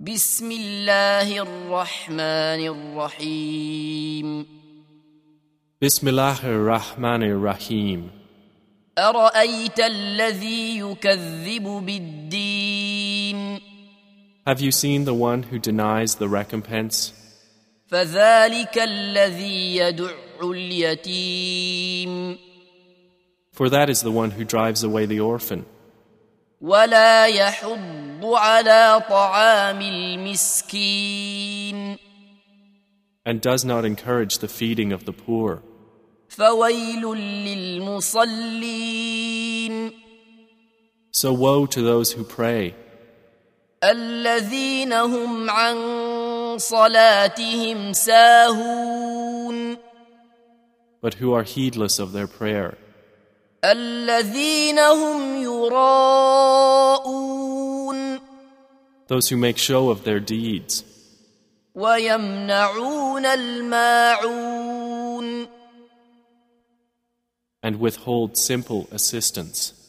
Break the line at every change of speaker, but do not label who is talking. بسم الله الرحمن الرحيم
Bismillahir Rahmanir Rahim.
أرأيت الذي يكذب بالدين
Have you seen the one who denies the recompense?
فذلك الذي يدع اليتيم
For that is the one who drives away the orphan,
ولا يحض على طعام المسكين
and does not encourage the feeding of the poor.
فويل للمصلين
So woe to those who pray,
الذين هم عن صلاتهم ساهون
but who are heedless of their prayer,
الذين هم يراءون
those who make show of their deeds,
ويمنعون الماعون
and withhold simple assistance.